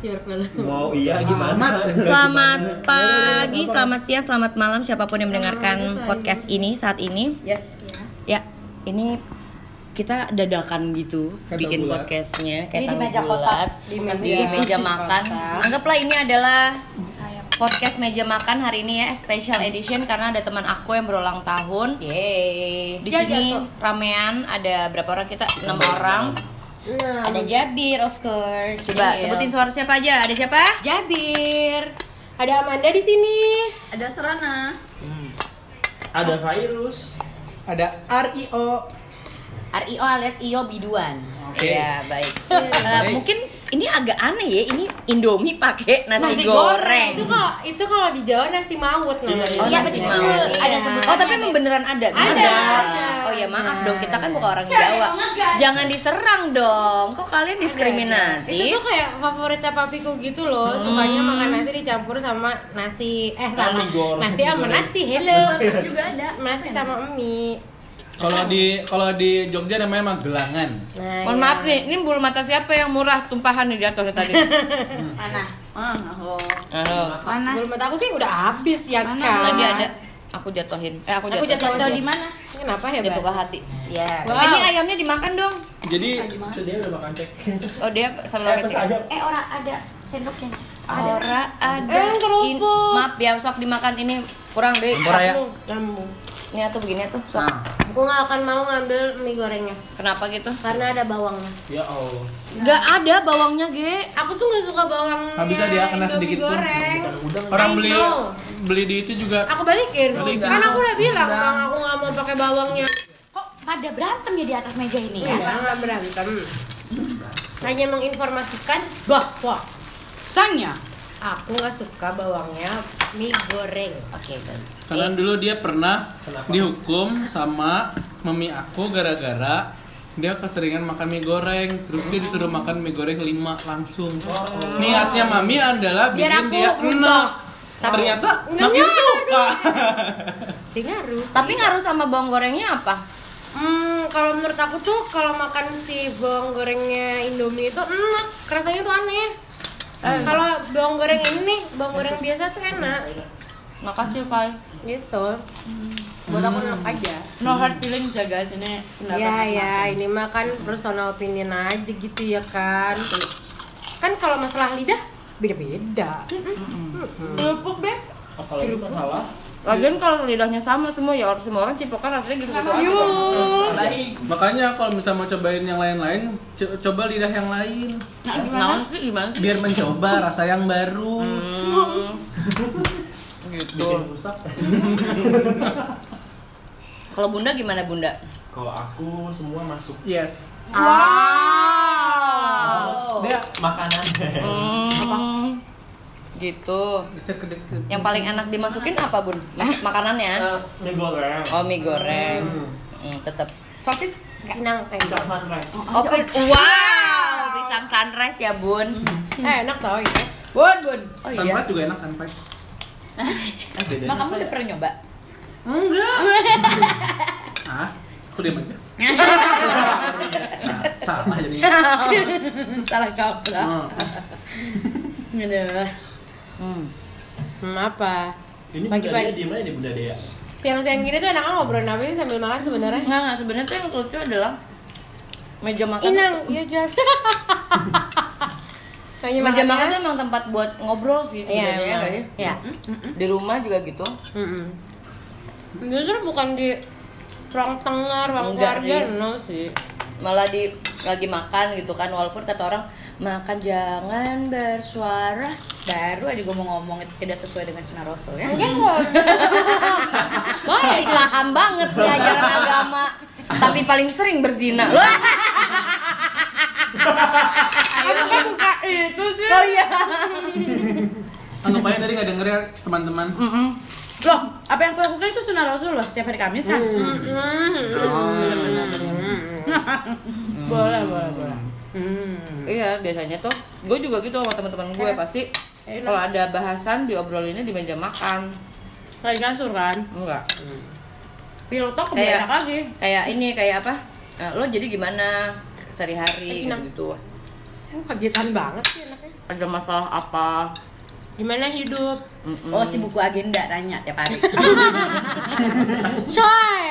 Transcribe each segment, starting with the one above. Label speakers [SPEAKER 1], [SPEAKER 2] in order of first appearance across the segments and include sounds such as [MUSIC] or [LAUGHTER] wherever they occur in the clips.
[SPEAKER 1] Ya, kelas
[SPEAKER 2] mau iya gimana
[SPEAKER 3] Selamat, selamat pagi, selamat siang, selamat malam siapapun yang mendengarkan podcast ini saat ini.
[SPEAKER 4] Yes.
[SPEAKER 3] Ya, ini kita dadakan gitu
[SPEAKER 2] Kayak
[SPEAKER 3] bikin
[SPEAKER 2] tanggulat.
[SPEAKER 3] podcastnya
[SPEAKER 4] Ini
[SPEAKER 3] kayak
[SPEAKER 4] di meja kotak.
[SPEAKER 3] tanggulat. di
[SPEAKER 4] Di
[SPEAKER 3] meja,
[SPEAKER 4] meja-
[SPEAKER 3] makan.
[SPEAKER 4] kotak.
[SPEAKER 3] Anggaplah ini adalah podcast meja makan hari ini ya special edition karena ada teman aku yang berulang tahun.
[SPEAKER 4] Yeay.
[SPEAKER 3] Di
[SPEAKER 4] Ya,
[SPEAKER 3] sini
[SPEAKER 4] jatuh.
[SPEAKER 3] ramean ada berapa orang kita? 6 orang.
[SPEAKER 1] Iya,
[SPEAKER 4] ada Jabir of course.
[SPEAKER 3] Coba
[SPEAKER 4] Cil.
[SPEAKER 3] sebutin suara siapa aja. Ada siapa?
[SPEAKER 4] Jabir. Ada Amanda di sini.
[SPEAKER 5] Ada Serana.
[SPEAKER 2] ada virus
[SPEAKER 6] ada RIO
[SPEAKER 4] RIO alias IO biduan.
[SPEAKER 2] Oke.
[SPEAKER 3] Iya, baik. Eh, mungkin ini agak aneh ya, ini Indomie pakai nasi,
[SPEAKER 4] Nasi
[SPEAKER 3] goreng.
[SPEAKER 4] goreng.
[SPEAKER 1] Itu kalau itu kalau di Jawa nasi mawut namanya.
[SPEAKER 3] Oh,
[SPEAKER 4] Iya
[SPEAKER 3] nasi
[SPEAKER 4] betul.
[SPEAKER 3] mawar.
[SPEAKER 4] Ada sebutan.
[SPEAKER 3] Oh, tapi emang beneran ada.
[SPEAKER 1] Ada.
[SPEAKER 3] Oh ya, maaf dong, kita kan bukan orang Jawa. Jangan diserang dong. Kok kalian
[SPEAKER 1] Itu
[SPEAKER 3] diskriminatif?
[SPEAKER 1] tuh kayak favoritnya papiku gitu loh, sukanya makan nasi dicampur sama nasi eh sama
[SPEAKER 2] Nasi goreng.
[SPEAKER 1] nasi sama nasi hello.
[SPEAKER 5] Juga ada.
[SPEAKER 1] Nasi sama mie.
[SPEAKER 6] kalau di kalau di Jogja namanya magelangan
[SPEAKER 1] Nah,
[SPEAKER 3] Mohon
[SPEAKER 1] iya.
[SPEAKER 3] maaf nih, ini bulu mata siapa yang murah tumpahan nih di atas nih tadi?
[SPEAKER 5] Panah. Oh,
[SPEAKER 3] Aduh.
[SPEAKER 5] panah.
[SPEAKER 1] Bulu mata aku sih udah habis ya kan.
[SPEAKER 3] Tadi ada aku jatuhin. Eh, aku jatuhin.
[SPEAKER 1] Aku jatuh
[SPEAKER 3] Jatuh
[SPEAKER 1] di mana? Kenapa ya,
[SPEAKER 3] Jatuh ke
[SPEAKER 1] Bang?
[SPEAKER 3] hati.
[SPEAKER 4] Ya.
[SPEAKER 1] Wow.
[SPEAKER 3] Ini ayamnya dimakan dong.
[SPEAKER 1] Ah,
[SPEAKER 6] jadi
[SPEAKER 2] itu dia udah makan cek
[SPEAKER 3] Oh, dia sama
[SPEAKER 2] eh
[SPEAKER 3] Riti.
[SPEAKER 2] pas aja
[SPEAKER 5] Eh, orang ada sendoknya.
[SPEAKER 3] Ora ada.
[SPEAKER 1] Eh, kerupuk.
[SPEAKER 3] In- maaf ya, sok dimakan ini kurang deh.
[SPEAKER 6] Tempura ya.
[SPEAKER 1] Nyambung, Nyambung.
[SPEAKER 3] Ini atau begini tuh. Sok.
[SPEAKER 6] Nah.
[SPEAKER 1] Aku nggak akan mau ngambil mie gorengnya
[SPEAKER 3] Kenapa gitu?
[SPEAKER 1] karena ada bawangnya.
[SPEAKER 2] ya allah
[SPEAKER 3] Gak ada bawangnya, Ge.
[SPEAKER 1] Aku tuh nggak suka bawangnya.
[SPEAKER 6] Habisnya dia kena
[SPEAKER 1] Indomie
[SPEAKER 6] sedikit pun.
[SPEAKER 1] goreng.
[SPEAKER 6] orang
[SPEAKER 1] I
[SPEAKER 6] beli
[SPEAKER 1] know.
[SPEAKER 6] beli di itu juga
[SPEAKER 1] Aku balikin.
[SPEAKER 6] Balikin.
[SPEAKER 1] Kan aku udah bilang bang aku nggak mau pakai bawangnya.
[SPEAKER 5] Kok pada berantem ya di atas meja ini
[SPEAKER 3] Iya.
[SPEAKER 5] ya?
[SPEAKER 1] Enggak, nggak berantem. Hanya menginformasikan bahwa
[SPEAKER 5] Sanya.
[SPEAKER 1] aku nggak suka bawangnya mie goreng.
[SPEAKER 3] Oke, baik.
[SPEAKER 6] karena dulu dia pernah
[SPEAKER 2] Kenapa?
[SPEAKER 6] dihukum sama mami aku gara-gara dia keseringan makan mie goreng terus dia disuruh makan mie goreng 5 langsung niatnya mami adalah
[SPEAKER 1] Biar
[SPEAKER 6] bikin
[SPEAKER 1] aku
[SPEAKER 6] dia
[SPEAKER 1] berubah.
[SPEAKER 6] enak ternyata
[SPEAKER 1] Nggak
[SPEAKER 6] makin
[SPEAKER 1] nyadar.
[SPEAKER 6] suka
[SPEAKER 1] Dia ngaruh.
[SPEAKER 3] Tapi ngaruh sama bawang gorengnya apa?
[SPEAKER 1] Hmm, kalau menurut aku tuh kalau makan si bawang gorengnya Indomie itu enak, rasanya tuh aneh. Kalau bawang goreng ini nih, bawang goreng biasa tuh enak
[SPEAKER 3] Makasih, Fai.
[SPEAKER 1] gitu. Buat aku enak aja.
[SPEAKER 5] No hard feelings ya guys, ini
[SPEAKER 3] Iya.
[SPEAKER 1] Ya ya, ini mah kan personal opinion aja gitu ya kan. Kan kalau masalah lidah beda-beda.
[SPEAKER 5] Kerupuk deh.
[SPEAKER 2] apalagi masalah
[SPEAKER 3] Lagian kalau lidahnya sama semua ya orang semua orang cipokan rasanya gitu-gitu aja.
[SPEAKER 6] [LAUGHS] makanya kalau misalnya mau cobain yang lain-lain co- coba lidah yang lain
[SPEAKER 3] Nah, sih Hmm. gimana?
[SPEAKER 6] biar mencoba rasa yang baru
[SPEAKER 2] bikin rusak
[SPEAKER 3] Kalau Bunda gimana, Bunda?
[SPEAKER 2] kalau aku semua masuk
[SPEAKER 6] yes
[SPEAKER 2] dia Iya, makanan
[SPEAKER 3] Hmm. Gitu.
[SPEAKER 6] geser ke dekat
[SPEAKER 3] Yang paling enak dimasukin apa, Bun? Mas- makanannya?
[SPEAKER 2] Eh, mie goreng
[SPEAKER 3] Oh, mie goreng. Hmm, tetap.
[SPEAKER 5] Sosis.
[SPEAKER 1] Pinang
[SPEAKER 2] pisang
[SPEAKER 1] enak.
[SPEAKER 2] sunrise
[SPEAKER 3] Oh, wow, pisang sunrise ya, Bun.
[SPEAKER 1] Eh, enak tau itu.
[SPEAKER 5] Bun, bun.
[SPEAKER 3] Oh
[SPEAKER 1] iya.
[SPEAKER 6] Sunblock juga enak sunblock.
[SPEAKER 2] eh bedanya
[SPEAKER 5] Mak, kamu udah pernah nyoba?
[SPEAKER 6] Enggak. ah, aku diam aja. Nah, salah jadi.
[SPEAKER 3] [LAUGHS] Salah
[SPEAKER 6] Hmm.
[SPEAKER 3] kaprah. Hmm.
[SPEAKER 1] Hmm, apa?
[SPEAKER 2] ini
[SPEAKER 1] Pagi,
[SPEAKER 2] bunda Dea
[SPEAKER 1] pagi.
[SPEAKER 2] di mana di bunda Dea
[SPEAKER 1] Siang-siang gini tuh enaknya ngobrol apa sih sambil makan sebenarnya?
[SPEAKER 3] Eh, Nggak, nggak. Sebenarnya tuh yang lucu adalah meja makan.
[SPEAKER 1] Inang, ya
[SPEAKER 3] [LAUGHS]
[SPEAKER 1] jelas. Meja
[SPEAKER 3] Meja makan
[SPEAKER 1] makannya-
[SPEAKER 3] tuh emang tempat buat ngobrol
[SPEAKER 1] Iya,
[SPEAKER 3] sih sebenarnya ya,
[SPEAKER 1] emang.
[SPEAKER 3] nggak ya?
[SPEAKER 1] Iya.
[SPEAKER 3] Di rumah juga gitu.
[SPEAKER 1] Mm-mm. Justru bukan di ruang tengah, ruang
[SPEAKER 3] Enggak
[SPEAKER 1] keluarga,
[SPEAKER 5] iya.
[SPEAKER 3] sih.
[SPEAKER 1] no sih.
[SPEAKER 3] Malah di lagi makan gitu kan walaupun kata orang makan jangan bersuara.
[SPEAKER 5] Baru aja gue mau ngomong itu tidak sesuai dengan Sunnah Rasul ya.
[SPEAKER 1] Mungkin
[SPEAKER 5] [LAUGHS]
[SPEAKER 1] kalau
[SPEAKER 3] Baik, paham banget nih ajaran agama. Tapi paling sering berzina. Wah,
[SPEAKER 5] Iya.
[SPEAKER 1] aku kan buka itu sih.
[SPEAKER 3] oh iya.
[SPEAKER 6] Anggap aja tadi nggak denger ya teman-teman.
[SPEAKER 3] Mm-mm.
[SPEAKER 5] Loh, apa yang aku lakukan itu Sunnah Rasul loh setiap hari Kamis kan?
[SPEAKER 6] Oh, iya,
[SPEAKER 1] Boleh, boleh, boleh.
[SPEAKER 5] Hmm.
[SPEAKER 3] Iya, biasanya tuh gue juga gitu sama teman-teman gue pasti
[SPEAKER 1] Enak.
[SPEAKER 3] kalau ada bahasan diobrolinnya di meja makan.
[SPEAKER 5] Lagi kasur kan?
[SPEAKER 3] Enggak.
[SPEAKER 5] Pilotok
[SPEAKER 3] Kayak-
[SPEAKER 1] Iya.
[SPEAKER 5] kebanyak lagi.
[SPEAKER 3] kayak ini kayak apa Eh, lo jadi gimana sehari-hari
[SPEAKER 1] Kayak gimana?
[SPEAKER 3] gitu
[SPEAKER 1] Aku kagetan banget sih anaknya.
[SPEAKER 5] ada masalah apa
[SPEAKER 1] Gimana hidup?
[SPEAKER 5] oh si buku agenda tanya tiap
[SPEAKER 1] [LAUGHS]
[SPEAKER 5] hari
[SPEAKER 3] Coy.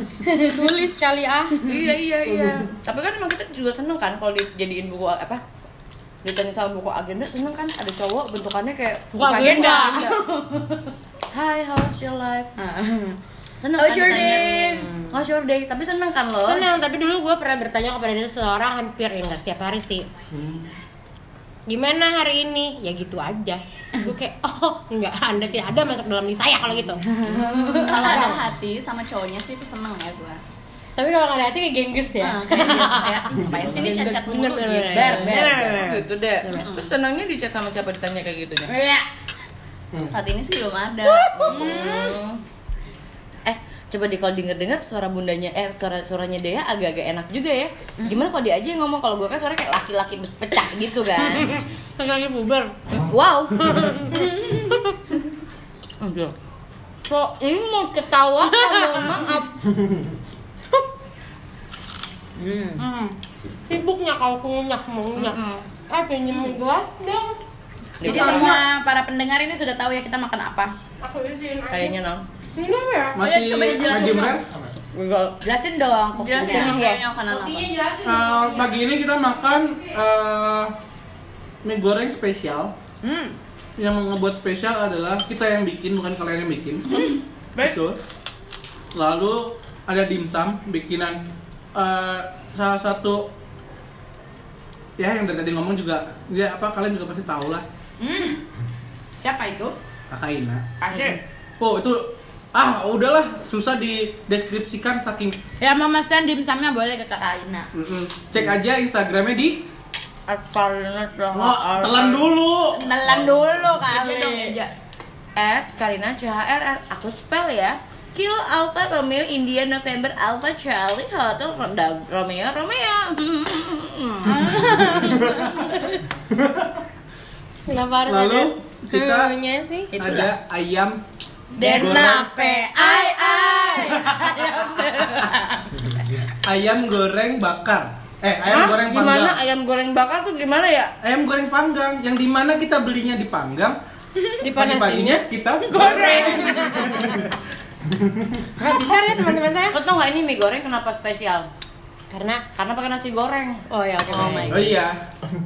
[SPEAKER 5] [LAUGHS]
[SPEAKER 3] Tulis kali ah.
[SPEAKER 5] iya iya iya
[SPEAKER 3] Tapi kan emang kita juga seneng kan kalau dijadiin buku apa? Ditanya sama buku agenda seneng kan ada cowok bentukannya kayak
[SPEAKER 1] Buku agenda.
[SPEAKER 3] [LAUGHS] Hi, how's your life? Seneng
[SPEAKER 5] How's
[SPEAKER 3] kan
[SPEAKER 5] your
[SPEAKER 3] ditanya? Hmm.
[SPEAKER 5] day?
[SPEAKER 3] How's your day? Tapi seneng kan lo?
[SPEAKER 1] Senang, tapi dulu gue pernah bertanya kepada seseorang hampir ya enggak setiap hari sih.
[SPEAKER 7] Hmm.
[SPEAKER 1] Gimana hari ini? Ya gitu aja. Gue kayak, [LAUGHS] oh enggak, anda tidak ada masuk dalam diri saya kalau gitu.
[SPEAKER 7] kalau [LAUGHS] ada hati sama cowoknya sih itu seneng ya gua
[SPEAKER 1] tapi kalau nggak ada hati kayak gengges ya.
[SPEAKER 7] Nah, kayak
[SPEAKER 5] [LAUGHS]
[SPEAKER 7] gitu, kayak "Ih, ngapain sih ini cacat
[SPEAKER 1] Bener, bener,
[SPEAKER 7] mulu gitu
[SPEAKER 1] bener.
[SPEAKER 5] Ber, ber,
[SPEAKER 1] Bener,
[SPEAKER 5] ber.
[SPEAKER 1] bener, bener.
[SPEAKER 3] gitu deh. Terus senangnya dicat sama siapa ditanya kayak gitu deh.
[SPEAKER 5] iya
[SPEAKER 7] saat ini sih belum ada
[SPEAKER 3] Eh, coba di kalau denger-denger suara bundanya eh suara suaranya Dea agak-agak enak juga ya. Gimana kalau dia aja yang ngomong kalau gue kan suara kayak laki-laki pecah gitu kan.
[SPEAKER 1] Kayaknya bubar.
[SPEAKER 3] Wow. Aduh. So, ini mau ketawa apa? Mohon maaf.
[SPEAKER 7] Hmm.
[SPEAKER 1] Sibuknya kau kunyak mengunyak. Eh pinjem gelas dong.
[SPEAKER 5] jadi semua para pendengar ini sudah tahu ya kita makan apa
[SPEAKER 1] Aku isiin aja.
[SPEAKER 3] Kayaknya nang.
[SPEAKER 1] Ini apa ya?
[SPEAKER 6] Masih
[SPEAKER 5] coba dijelasin
[SPEAKER 6] Mas Gibran?
[SPEAKER 5] jelasin dong
[SPEAKER 7] jelasin
[SPEAKER 5] kopinya
[SPEAKER 7] dong kayaknya Iya, makanan apa
[SPEAKER 5] Iya.
[SPEAKER 1] Kopinya jelasin.
[SPEAKER 6] Eh, pagi ini kita makan eh, mie goreng spesial.
[SPEAKER 5] hmm
[SPEAKER 6] Yang ngebuat spesial adalah kita yang bikin, bukan kalian yang bikin. Betul. Lalu ada dimsum bikinan eh, salah satu ya yang dari tadi ngomong juga dia apa kalian juga pasti tahu lah
[SPEAKER 5] siapa itu
[SPEAKER 6] kakak Ina.
[SPEAKER 5] Pasir
[SPEAKER 6] Oh itu ah udahlah susah dideskripsikan saking
[SPEAKER 5] ya mau pesan dimsumnya boleh ke kakak Ina
[SPEAKER 6] Mm-mm. cek aja Instagramnya di
[SPEAKER 3] Karina
[SPEAKER 6] oh, telan dulu
[SPEAKER 5] telan dulu
[SPEAKER 7] Iya dong, iya.
[SPEAKER 3] At Karina CHRR. Aku spell ya. Kilo Alpha Romeo India November Alpha Charlie Hotel Ronda- Romeo Romeo.
[SPEAKER 1] Kenapa harus ada?
[SPEAKER 6] lalu kita
[SPEAKER 1] Hulunya sih.
[SPEAKER 6] ada ayam
[SPEAKER 5] Denape ai ai
[SPEAKER 6] ayam goreng bakar eh ayam
[SPEAKER 3] Hah?
[SPEAKER 6] goreng panggang
[SPEAKER 3] Gimana ayam goreng bakar tuh gimana ya?
[SPEAKER 6] ayam goreng panggang yang dimana kita belinya dipanggang pagi-paginya kita goreng
[SPEAKER 1] Nggak besar ya teman-teman saya.
[SPEAKER 3] Lo tau gak ini mie goreng kenapa spesial?
[SPEAKER 1] Karena
[SPEAKER 3] Karena pakai nasi goreng.
[SPEAKER 1] Oh ya, oke. baik.
[SPEAKER 6] oh iya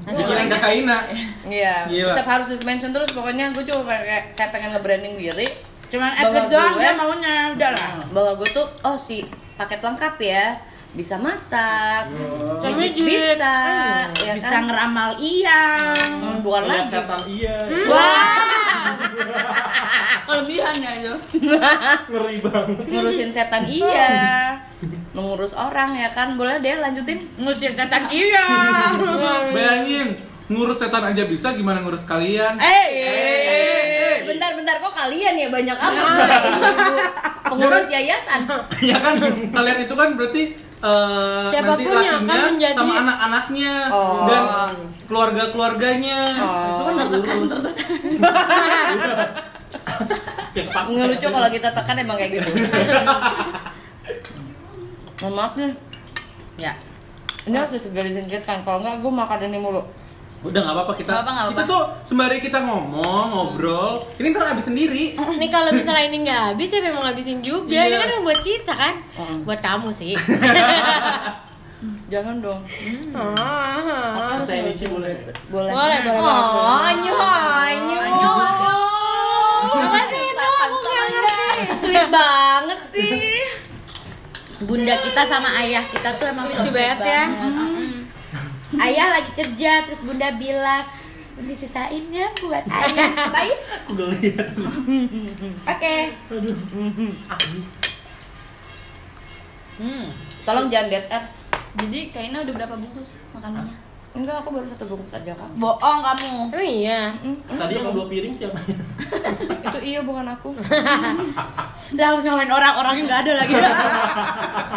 [SPEAKER 6] bikinan kakak Ina
[SPEAKER 3] Iya.
[SPEAKER 6] Gila.
[SPEAKER 3] Tetap harus dimention terus pokoknya gue cuma kayak, kayak pengen nge-branding diri
[SPEAKER 5] cuman
[SPEAKER 3] Bawa
[SPEAKER 5] effort doang
[SPEAKER 3] gue.
[SPEAKER 5] dia maunya udah lah
[SPEAKER 3] bahwa gue tuh oh si paket lengkap ya bisa masak, pijit bisa, ya
[SPEAKER 5] Ah, bisa
[SPEAKER 3] kan?
[SPEAKER 5] ngeramal iya
[SPEAKER 3] Hmm, bukan
[SPEAKER 2] Lihat
[SPEAKER 3] lagi.
[SPEAKER 2] setan iya
[SPEAKER 7] kelebihan ya itu
[SPEAKER 2] ngeri banget
[SPEAKER 3] Ngurusin setan iya, mengurus orang ya kan boleh deh lanjutin.
[SPEAKER 5] ngusir setan iya
[SPEAKER 6] bayangin ngurus setan aja bisa gimana ngurus kalian
[SPEAKER 5] eh
[SPEAKER 3] eh. Bentar-bentar kok kalian ya banyak amat pengurus
[SPEAKER 7] ya.
[SPEAKER 5] Iya,
[SPEAKER 3] yayasan.
[SPEAKER 6] kan? [LAUGHS] ya kan kalian itu kan berarti eh, nanti
[SPEAKER 1] Siapapun yang akan
[SPEAKER 6] lakinya
[SPEAKER 1] menjadi-
[SPEAKER 6] sama anak-anaknya
[SPEAKER 3] Oh.
[SPEAKER 6] dan keluarga-keluarganya itu kan terurus
[SPEAKER 2] cepat
[SPEAKER 3] ngelucu kalau kita tekan emang kayak
[SPEAKER 5] [LAUGHS]
[SPEAKER 3] gitu mohon maaf nih
[SPEAKER 5] ya
[SPEAKER 3] ini harus segera disingkirkan kalau enggak gue makan ini mulu
[SPEAKER 6] udah nggak apa-apa kita
[SPEAKER 7] Nggak apa, nggak
[SPEAKER 6] kita
[SPEAKER 7] apa.
[SPEAKER 6] tuh sembari kita ngomong ngobrol ini ntar habis sendiri
[SPEAKER 1] Ini kalau misalnya ini nggak habis ya memang habisin juga. Ini
[SPEAKER 6] Iya.
[SPEAKER 1] kan yang buat kita kan, buat kamu sih.
[SPEAKER 3] jangan dong
[SPEAKER 1] Ah.
[SPEAKER 2] saya ini sih boleh
[SPEAKER 3] boleh
[SPEAKER 1] boleh, boleh.
[SPEAKER 3] oh anyu anyu
[SPEAKER 1] Oh, Apa sih itu? Aku nggak ngerti.
[SPEAKER 3] sweet banget sih
[SPEAKER 5] bunda kita sama ayah kita tuh emang
[SPEAKER 1] Lucu
[SPEAKER 5] sweet
[SPEAKER 1] banget ya.
[SPEAKER 5] Mm. ayah lagi kerja terus bunda bilang "Bun, disisain ya buat ayah baik
[SPEAKER 2] aku udah lihat
[SPEAKER 5] oke
[SPEAKER 3] tolong jangan dead air
[SPEAKER 7] jadi kayaknya udah berapa bungkus makanannya
[SPEAKER 3] enggak aku baru satu bungkus aja kan
[SPEAKER 5] bohong kamu
[SPEAKER 1] Oh iya.
[SPEAKER 2] tadi yang dua piring siapa
[SPEAKER 3] itu iya bukan aku
[SPEAKER 5] udah ngawain orang orangnya nggak ada lagi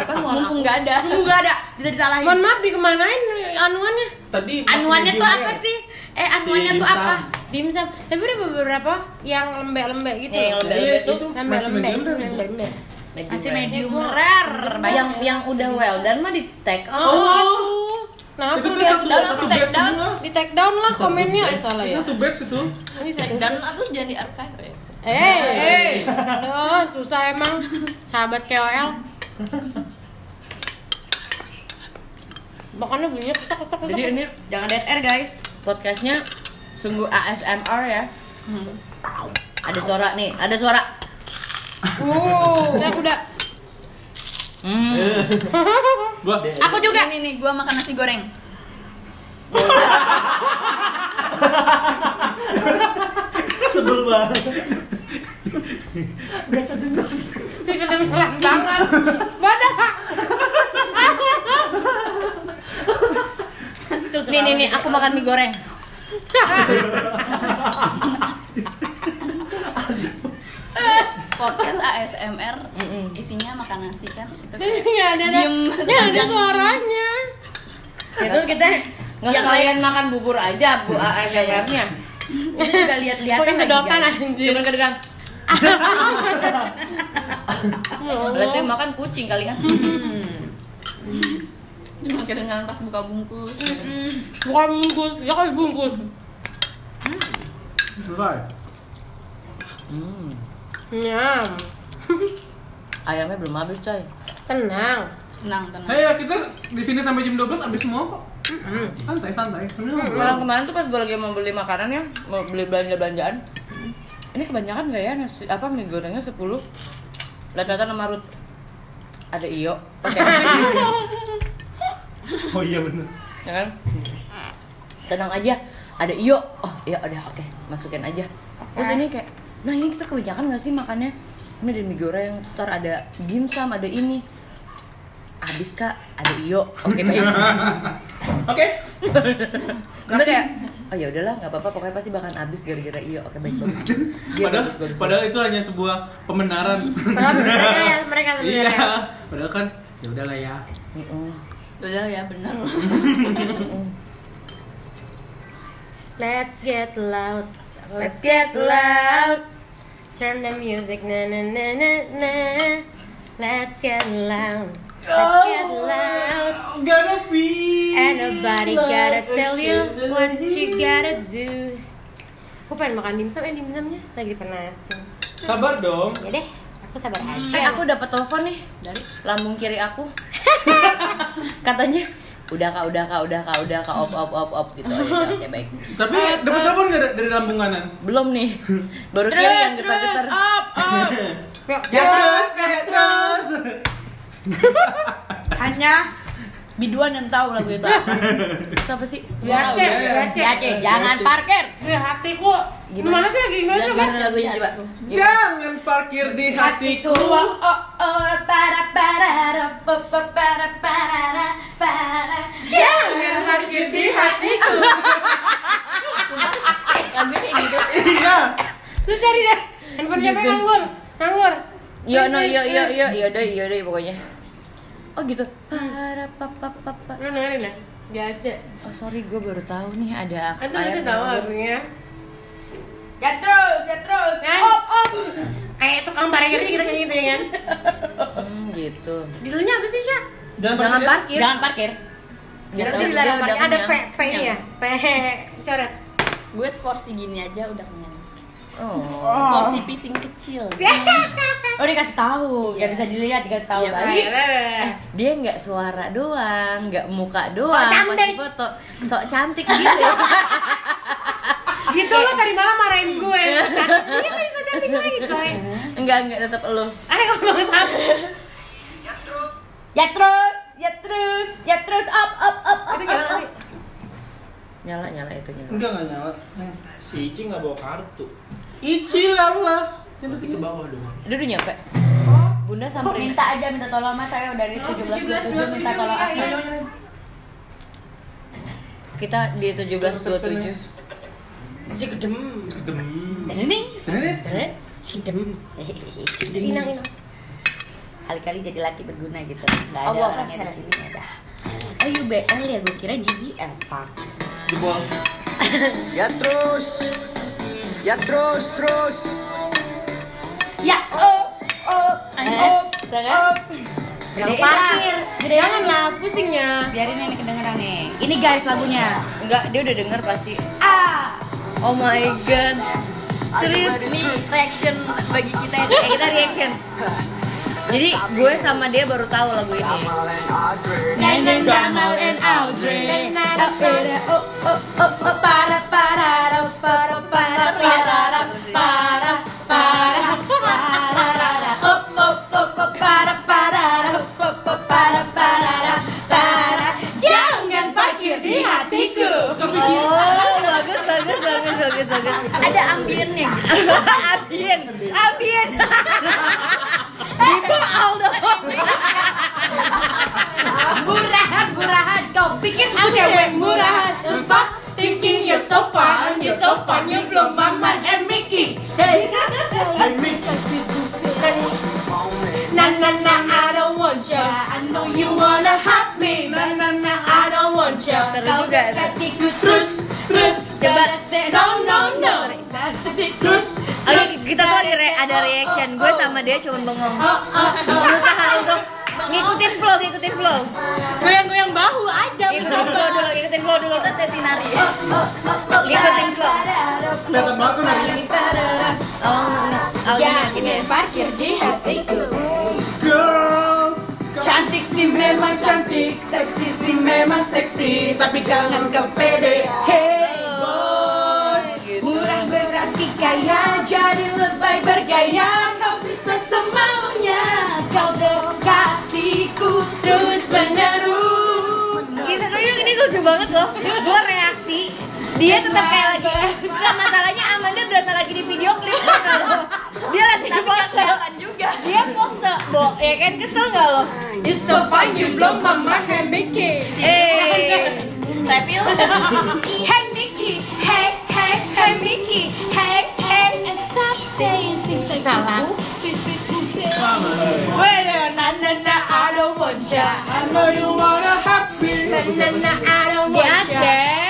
[SPEAKER 7] kan mumpung nggak ada
[SPEAKER 5] nggak ada bisa disalahin
[SPEAKER 1] Mohon maaf dikemanain anuannya?
[SPEAKER 2] tadi masih
[SPEAKER 5] anuannya
[SPEAKER 2] di
[SPEAKER 5] tuh
[SPEAKER 2] gym
[SPEAKER 5] apa
[SPEAKER 2] ya?
[SPEAKER 5] sih eh anuannya
[SPEAKER 2] Si
[SPEAKER 5] tuh
[SPEAKER 2] Insan.
[SPEAKER 5] apa
[SPEAKER 1] Dimsum. Tapi ada beberapa yang lembek-lembek gitu.
[SPEAKER 3] Ya,
[SPEAKER 5] Eh,
[SPEAKER 3] yang
[SPEAKER 1] loh.
[SPEAKER 3] lembek.
[SPEAKER 6] Iya,
[SPEAKER 3] Itu
[SPEAKER 6] itu masih
[SPEAKER 1] Lembek-lembek,
[SPEAKER 6] medium rare.
[SPEAKER 1] lembek-lembek.
[SPEAKER 3] Medium
[SPEAKER 7] Iya,
[SPEAKER 5] masih
[SPEAKER 3] rare.
[SPEAKER 5] medium rare banyak
[SPEAKER 3] yang yang udah well dan mah di take
[SPEAKER 1] Oh,
[SPEAKER 3] out
[SPEAKER 1] itu. Nah,
[SPEAKER 6] Itu
[SPEAKER 1] aku
[SPEAKER 6] tuh
[SPEAKER 1] udah
[SPEAKER 6] satu,
[SPEAKER 7] down,
[SPEAKER 6] satu
[SPEAKER 7] aku
[SPEAKER 6] batch
[SPEAKER 7] take down.
[SPEAKER 6] semua.
[SPEAKER 1] di take down lah komennya eh salah ya.
[SPEAKER 6] Satu batch itu.
[SPEAKER 1] Ini satu.
[SPEAKER 7] Dan aku jangan di archive ya.
[SPEAKER 1] Eh, eh. Aduh, susah emang sahabat KOL. Makannya bunyinya ketok ketok ketok.
[SPEAKER 3] Jadi ini jangan dead air guys. Podcastnya sungguh ASMR ya. Ada suara nih, ada suara.
[SPEAKER 1] Uh, aku udah.
[SPEAKER 3] Hmm.
[SPEAKER 6] Gua.
[SPEAKER 7] Aku juga. Ini nih, gua makan nasi goreng.
[SPEAKER 2] Sebel banget.
[SPEAKER 1] Sih kedengeran banget. Badak.
[SPEAKER 3] Nih nih nih, aku makan mie goreng.
[SPEAKER 7] Podcast ASMR
[SPEAKER 3] Mm-mm.
[SPEAKER 7] isinya makan nasi kan. Itu
[SPEAKER 1] [LAUGHS] Terus nggak ada ada. nggak ada suaranya.
[SPEAKER 3] Ya, Itu kita Iya, nggak sekalian makan bubur aja bu ASMR-nya.
[SPEAKER 5] Ini udah lihat-lihat
[SPEAKER 1] Pakai sedotan anjir.
[SPEAKER 3] Cuman
[SPEAKER 1] [LAUGHS]
[SPEAKER 3] kedengeran. Berarti yang makan kucing kali kan?
[SPEAKER 7] cuma kedengaran pas buka bungkus.
[SPEAKER 1] Bukan bungkus, ya kan bungkus.
[SPEAKER 6] Selesai.
[SPEAKER 3] Hmm.
[SPEAKER 1] Nyam.
[SPEAKER 3] Ayamnya belum habis coy.
[SPEAKER 1] Tenang.
[SPEAKER 7] Tenang, tenang.
[SPEAKER 6] Hei, ya, kita di sini sampai jam 12 habis semua kok. Santai, santai.
[SPEAKER 2] Hmm.
[SPEAKER 3] Malam kemarin tuh pas gue lagi mau beli makanan ya, mau beli belanja belanjaan. Ini kebanyakan gak ya nasi apa mie gorengnya 10. Lihat-lihatan sama Ruth. Ada iyo. Oke.
[SPEAKER 2] [LAUGHS] Oh iya bener.
[SPEAKER 3] ya kan? Tenang aja. Ada iyo. Oh, iya udah oke. Masukin aja. Terus ini kayak nah ini kita kebanyakan gak sih makannya? Ini ada mie goreng, terus ntar ada dimsum, ada ini. Habis Kak, ada iyo. Oke, baik.
[SPEAKER 6] Oke.
[SPEAKER 3] Terus kayak Oh ya udahlah, nggak apa-apa. Pokoknya pasti bakalan habis gara-gara iyo. Oke, baik bagus. Iya,
[SPEAKER 6] [LAUGHS] Padahal,
[SPEAKER 3] bagus, bagus,
[SPEAKER 6] padahal itu hanya sebuah pembenaran.
[SPEAKER 1] Padahal mereka ya, mereka sebenarnya.
[SPEAKER 6] [LAUGHS] Iya. Padahal kan ya udahlah ya.
[SPEAKER 3] Mm-mm.
[SPEAKER 7] Udah ya, bener.
[SPEAKER 1] Let's get loud.
[SPEAKER 3] Let's get loud.
[SPEAKER 1] Turn the music na na na na na. Let's get loud. Let's get loud.
[SPEAKER 6] Gonna feel.
[SPEAKER 1] And nobody gotta tell you what you gotta do. Aku pengen makan dimsum, eh dimsumnya lagi dipanasin.
[SPEAKER 6] Sabar dong.
[SPEAKER 1] Ya deh, aku sabar aja.
[SPEAKER 3] Eh, aku dapat telepon nih
[SPEAKER 7] Dari
[SPEAKER 3] lambung kiri
[SPEAKER 1] [LAUGHS]
[SPEAKER 3] aku. Katanya udah kak, udah kak, udah kak, udah kak, op op op op gitu. Oh, ya, Oke baik.
[SPEAKER 6] Tapi dapat telepon nggak dari- dari lambung kanan?
[SPEAKER 3] Belum nih. Baru
[SPEAKER 7] Iya,
[SPEAKER 3] kiri yang getar-getar.
[SPEAKER 1] up, up.
[SPEAKER 6] Ya terus, ya terus.
[SPEAKER 5] Hanya
[SPEAKER 7] biduan yang tahu lagu itu.
[SPEAKER 3] Itu apa sih?
[SPEAKER 7] Oh,
[SPEAKER 1] Biar
[SPEAKER 7] iya,
[SPEAKER 1] cek, biar cek.
[SPEAKER 5] ya Cek, jangan parkir.
[SPEAKER 1] Biar hatiku. Gimana sih lagi gimana coba?
[SPEAKER 3] Gimana lagunya coba?
[SPEAKER 6] Jangan parkir di hatiku.
[SPEAKER 5] Oh oh oh para para ra, pa, pa, para para ra, para.
[SPEAKER 6] Jangan parkir di hatiku. [LAUGHS]
[SPEAKER 7] Lagunya kayak gitu.
[SPEAKER 6] Iya.
[SPEAKER 1] Lu cari deh. Handphone siapa yang nganggur? Nganggur.
[SPEAKER 3] Yo Iya, no yo yo yo yo deh yo deh iya, pokoknya. Oh gitu. Para pa pa pa pa.
[SPEAKER 1] Lu dengerin ya? Gace.
[SPEAKER 3] Oh sorry gue baru tahu nih ada.
[SPEAKER 1] Antum itu
[SPEAKER 3] ayat
[SPEAKER 1] tahu
[SPEAKER 3] baru.
[SPEAKER 1] lagunya.
[SPEAKER 5] Ya terus, ya terus.
[SPEAKER 1] Kan?
[SPEAKER 5] Op op.
[SPEAKER 1] Kayak tukang parkir aja kita kayak gitu ya kan?
[SPEAKER 3] Hmm gitu.
[SPEAKER 1] Judulnya apa sih, Syak?
[SPEAKER 3] Jangan
[SPEAKER 6] di-
[SPEAKER 3] parkir.
[SPEAKER 7] Jangan parkir.
[SPEAKER 3] Dia
[SPEAKER 1] Berarti
[SPEAKER 3] tahu,
[SPEAKER 1] dilarang
[SPEAKER 3] dia udah
[SPEAKER 1] parkir. Ada P,
[SPEAKER 3] kenyang.
[SPEAKER 1] P ini ya? P [LAUGHS] coret.
[SPEAKER 7] Gue seporsi gini aja udah kenyang.
[SPEAKER 3] Oh.
[SPEAKER 7] Seporsi pising kecil.
[SPEAKER 1] Iya,
[SPEAKER 5] Oh dikasih tahu, ya bisa dilihat dikasih tahu
[SPEAKER 7] Iya,
[SPEAKER 5] lagi.
[SPEAKER 1] Eh,
[SPEAKER 3] dia nggak suara doang, nggak muka doang,
[SPEAKER 1] Sok cantik.
[SPEAKER 3] pas foto sok cantik gitu. [LAUGHS] ya.
[SPEAKER 1] Gitu lo tadi malam marahin gue.
[SPEAKER 3] Mm.
[SPEAKER 1] Cantik lagi, so cantik lagi,
[SPEAKER 3] [LAUGHS]
[SPEAKER 1] coy.
[SPEAKER 3] enggak enggak tetap elu.
[SPEAKER 1] Ada ngomong sama.
[SPEAKER 5] Ya terus, ya terus, ya terus op op op op.
[SPEAKER 1] Itu gimana sih?
[SPEAKER 3] Nyala nyala itu nyala.
[SPEAKER 6] Enggak enggak nyala. Eh.
[SPEAKER 2] Si Ici nggak bawa kartu.
[SPEAKER 6] Ici lala.
[SPEAKER 2] Berarti ke bawah dong.
[SPEAKER 3] Dia udah nyampe. Bunda samperin.
[SPEAKER 5] Minta aja minta tolong mas saya dari
[SPEAKER 1] Oh,
[SPEAKER 5] 1727 minta tolong
[SPEAKER 1] iya,
[SPEAKER 5] akses.
[SPEAKER 3] Kita di 1727.
[SPEAKER 1] Cik dem.
[SPEAKER 5] Dening.
[SPEAKER 6] Ini
[SPEAKER 1] Inang inang.
[SPEAKER 5] Kali-kali jadi laki berguna gitu. Enggak ada
[SPEAKER 3] Allah.
[SPEAKER 5] orangnya di sini ada. Oh UBL ya gue kira GBL fuck.
[SPEAKER 6] jebol.
[SPEAKER 8] Ya terus, ya terus, terus.
[SPEAKER 5] Eh, Ya op op op op.
[SPEAKER 1] Yang parkir.
[SPEAKER 3] kan
[SPEAKER 1] Jangan lah pusingnya.
[SPEAKER 7] Biarin ini kedengeran nih.
[SPEAKER 5] Ini guys lagunya.
[SPEAKER 3] Enggak, dia udah denger pasti.
[SPEAKER 5] Ah,
[SPEAKER 3] Oh my god. Serius
[SPEAKER 7] Ini reaction bagi kita ya.
[SPEAKER 3] Eh, kita reaction. Jadi gue sama dia baru tahu lagu ini.
[SPEAKER 5] Neneng Gamal and Audrey. Oh, oh, oh, oh, para, para, para, para, para, para, para, para, para, oh, oh, oh, oh, para, para, oh, oh, oh, para, para, para. Jangan parkir di hatiku.
[SPEAKER 3] Oh, [LAUGHS] bagus, bagus, bagus, bagus, bagus.
[SPEAKER 5] Ada ambiennya.
[SPEAKER 3] Abien, Abien. Ibu Aldo.
[SPEAKER 5] Murahan, murahan, kau pikir aku cewek murahan. Lupa thinking you're so fun, you're so fun, you belum Maman and Mickey. Hey, hey, Na na na, I don't want ya. I know you wanna have me. Na na na, I don't want ya.
[SPEAKER 3] Seru
[SPEAKER 5] Kau
[SPEAKER 3] juga itu.
[SPEAKER 5] dekatiku terus, terus.
[SPEAKER 3] Coba.
[SPEAKER 5] Better say No no no. Terus,
[SPEAKER 3] Aduh,
[SPEAKER 5] terus.
[SPEAKER 3] kita tuh ada, re- ada reaction. Gue sama dia cuma bengong.
[SPEAKER 5] Oh, oh, oh.
[SPEAKER 3] Berusaha untuk ngikutin flow, ngikutin flow.
[SPEAKER 5] Goyang-goyang bahu aja.
[SPEAKER 3] Ngikutin flow dulu, ngikutin flow dulu.
[SPEAKER 7] Tetinari ya.
[SPEAKER 3] Ngikutin flow.
[SPEAKER 6] Kelihatan banget kan hari ini.
[SPEAKER 3] Oh, oh,
[SPEAKER 5] Jangan
[SPEAKER 3] gini, gini.
[SPEAKER 5] parkir di hatiku.
[SPEAKER 6] Girl,
[SPEAKER 5] Cantik sih memang cantik, seksi sih memang seksi, tapi jangan kau pede. Hey boy, murah berarti kaya, jadi lebay bergaya. Kau bisa semaunya, kau dekatiku terus menerus.
[SPEAKER 3] Kita tuh ini lucu banget loh. Gue reaksi. Dia tetap kayak lagi. Nah, masalahnya Amanda berasa lagi di video klip. Dia lagi di pose. juga. Dia pose, Bo. Ya kan kesel gak lo?
[SPEAKER 5] You're so fine, you blow my mind, hey Mickey.
[SPEAKER 3] Eh.
[SPEAKER 7] Tapi lu
[SPEAKER 5] Hey Mickey, hey hey hey Mickey, hey hey. And stop saying things like that. Wait a uh, na na na, I don't want ya. I know you wanna have me. Na na na, I don't want ya.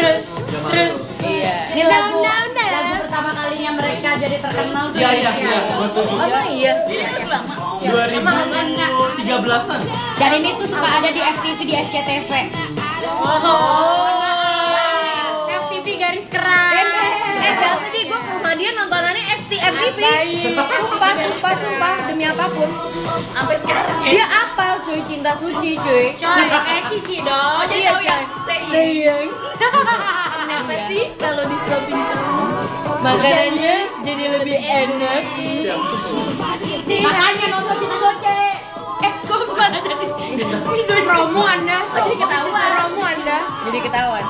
[SPEAKER 5] Terus, terus, iya.
[SPEAKER 4] Ini lagu,
[SPEAKER 5] No, no, no.
[SPEAKER 4] lagu pertama kalinya mereka jadi terkenal tuh.
[SPEAKER 7] Ya,
[SPEAKER 6] Iya, iya, iya.
[SPEAKER 3] Apa iya?
[SPEAKER 6] Dua ribu tiga belasan.
[SPEAKER 4] Dan ini tuh suka ada di FTV, di SCTV.
[SPEAKER 1] FTV garis keras.
[SPEAKER 3] Eh, berarti dia gue ke rumah dia nontonannya FT FTV. Sumpah, sumpah, sumpah demi apapun. Sampai sekarang. Dia apal cuy cinta sushi cuy.
[SPEAKER 1] Coy,
[SPEAKER 7] eh,
[SPEAKER 1] kayak Cici
[SPEAKER 4] Oh,
[SPEAKER 7] Oh,
[SPEAKER 4] iya,
[SPEAKER 1] dong. Dia
[SPEAKER 7] iya,
[SPEAKER 1] tahu ya.
[SPEAKER 3] Sayang.
[SPEAKER 1] Kenapa sih?
[SPEAKER 7] kalau disuapin terus
[SPEAKER 3] Makanannya jadi lebih enak.
[SPEAKER 1] Makanya nonton kita goce.
[SPEAKER 3] Eh, kok mana dari
[SPEAKER 1] Promo Anda.
[SPEAKER 5] Oh,
[SPEAKER 1] Jadi ketahuan. Promo Anda.
[SPEAKER 3] Jadi ketahuan.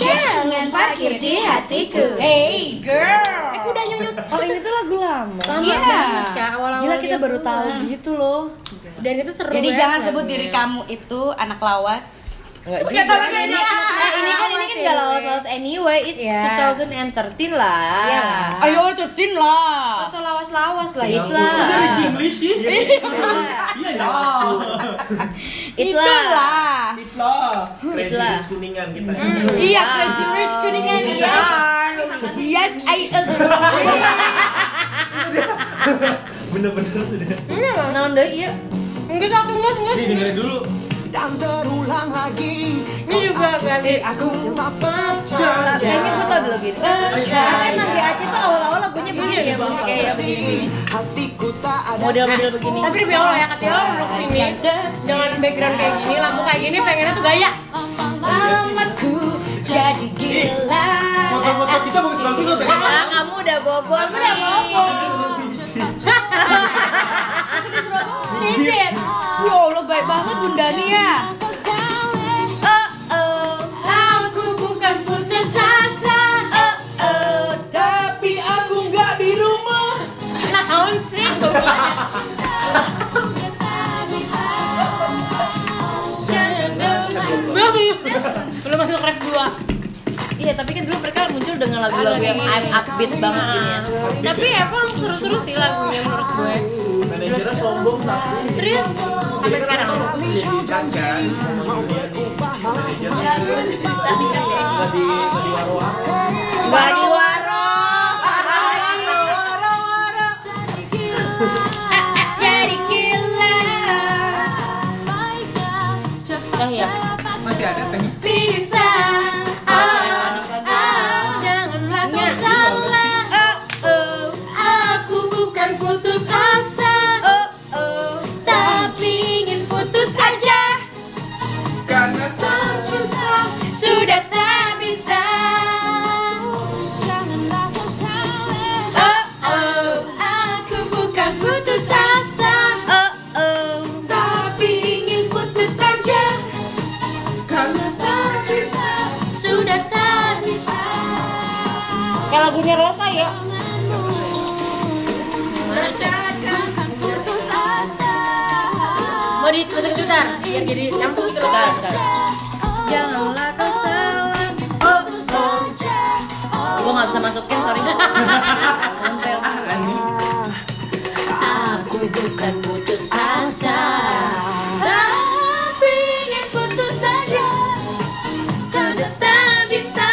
[SPEAKER 5] Jangan parkir di hatiku. Hey girl.
[SPEAKER 3] Aku udah nyonya. Oh, ini tuh lagu lama.
[SPEAKER 5] Iya.
[SPEAKER 3] Gila kita baru tahu gitu loh.
[SPEAKER 1] Dan itu seru
[SPEAKER 7] jadi
[SPEAKER 1] ya.
[SPEAKER 7] jangan sebut diri kamu itu anak lawas
[SPEAKER 3] Enggak juga. Nah, ini kan ini kan enggak lawas-lawas anyway. It's
[SPEAKER 1] Iya.
[SPEAKER 3] 2013 lah. Oh,
[SPEAKER 1] Iya.
[SPEAKER 7] ayo tertin lah
[SPEAKER 1] Masa lawas-lawas lah itu.
[SPEAKER 3] Itulah.
[SPEAKER 6] Iya. Udah di English sih.
[SPEAKER 2] iya.
[SPEAKER 6] Iya dong.
[SPEAKER 3] Itulah.
[SPEAKER 6] Itulah.
[SPEAKER 2] Crazy
[SPEAKER 3] Itulah.
[SPEAKER 2] Rich kuningan kita.
[SPEAKER 3] Hmm.
[SPEAKER 7] iya crazy rich kuningan iya
[SPEAKER 3] Yes, I agree.
[SPEAKER 2] Bener-bener sudah.
[SPEAKER 3] Naon iya. deui ieu?
[SPEAKER 1] Enggak satu mus, enggak.
[SPEAKER 6] Nih dengerin dulu.
[SPEAKER 8] Dan terulang lagi
[SPEAKER 1] Ini juga ganti.
[SPEAKER 8] Aku
[SPEAKER 3] Kayaknya gue tau dulu gitu. Karena emang GAC tuh awal-awal lagunya begini ya, Bang. Kayak ya begini.
[SPEAKER 8] Hatiku tak ada
[SPEAKER 3] Model-model begini.
[SPEAKER 1] Tapi demi Allah ya, katanya lo duduk sini Dengan background kayak gini, lampu kayak gini, pengennya tuh gaya
[SPEAKER 5] Lamaku jadi gila.
[SPEAKER 6] Foto-foto kita bagus-bagus loh tadi.
[SPEAKER 3] Ah, kamu udah bobo. Kamu udah bobo.
[SPEAKER 1] Bibit
[SPEAKER 4] Ya Allah baik banget Bunda Nia.
[SPEAKER 3] Oh, oh.
[SPEAKER 5] Aku bukan putus asa. Oh oh, tapi aku nggak di rumah.
[SPEAKER 1] Naon sih Belum Belum masuk ref 2
[SPEAKER 3] Iya, tapi kan dulu mereka muncul dengan lagu-lagu yang up- upbeat banget gini ya.
[SPEAKER 1] Tapi emang seru-seru sih lagunya menurut gue
[SPEAKER 2] Manajernya sombong tapi
[SPEAKER 1] Serius Sampai sekarang
[SPEAKER 6] Jadi cancan.
[SPEAKER 2] manajernya nggak di nggak di warung.
[SPEAKER 3] Baru waro. Oh, iya.
[SPEAKER 6] ada tehnya.
[SPEAKER 5] bisa ah, ah, Janganlah kau salah oh, oh. Aku bukan putus asa oh, oh. Tapi ingin putus aja
[SPEAKER 6] Karena
[SPEAKER 5] Kau sudah, sudah tak bisa Janganlah kau salah oh, oh. Aku bukan putus asa
[SPEAKER 3] Eh,
[SPEAKER 5] oh, oh. Tapi ingin putus saja karena tak bisa Sudah tak bisa
[SPEAKER 4] Kayak lagunya Rosa ya.
[SPEAKER 5] Tanganmu Merasakan putus asa
[SPEAKER 1] Mau diikutin juga biar jadi langsung
[SPEAKER 5] Putus
[SPEAKER 1] terus.
[SPEAKER 5] saja Janganlah kau salah Putus saja oh.
[SPEAKER 3] Gue nggak bisa
[SPEAKER 5] ya,
[SPEAKER 3] masukin, sorry.
[SPEAKER 5] Aku bukan putus asa Tapi ingin putus saja Sudah tak bisa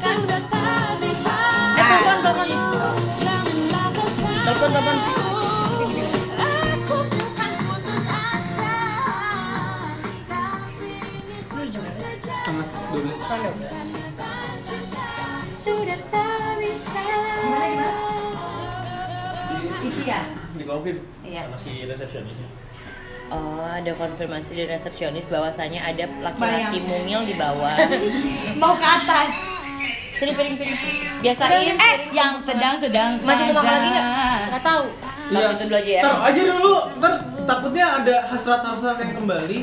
[SPEAKER 5] Sudah tak bisa
[SPEAKER 3] Eh, telepon, telepon.
[SPEAKER 5] Janganlah kau salah
[SPEAKER 3] Telepon, telepon.
[SPEAKER 5] Aku bukan putus asa Tapi ingin putus saja
[SPEAKER 6] Tengah 12.
[SPEAKER 5] Sudah tak bisa
[SPEAKER 2] Di bawah Vin.
[SPEAKER 3] Iya.
[SPEAKER 2] Sama si resepsionisnya.
[SPEAKER 3] Oh, ada konfirmasi dari resepsionis bahwasanya ada laki-laki mungil di bawah.
[SPEAKER 4] [LAUGHS] Mau ke atas.
[SPEAKER 3] Sini piring-piring. Biasain.
[SPEAKER 4] Eh, yang sedang-sedang
[SPEAKER 3] Maju ke makan lagi nggak?
[SPEAKER 1] Gak tahu.
[SPEAKER 3] Iya. Itu dulu aja ya.
[SPEAKER 6] Taruh aja dulu, ntar takutnya ada hasrat-hasrat yang kembali.